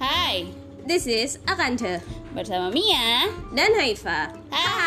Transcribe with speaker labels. Speaker 1: Hi,
Speaker 2: This is Akanta
Speaker 1: bersama Mia
Speaker 2: dan Haifa.
Speaker 1: Hai.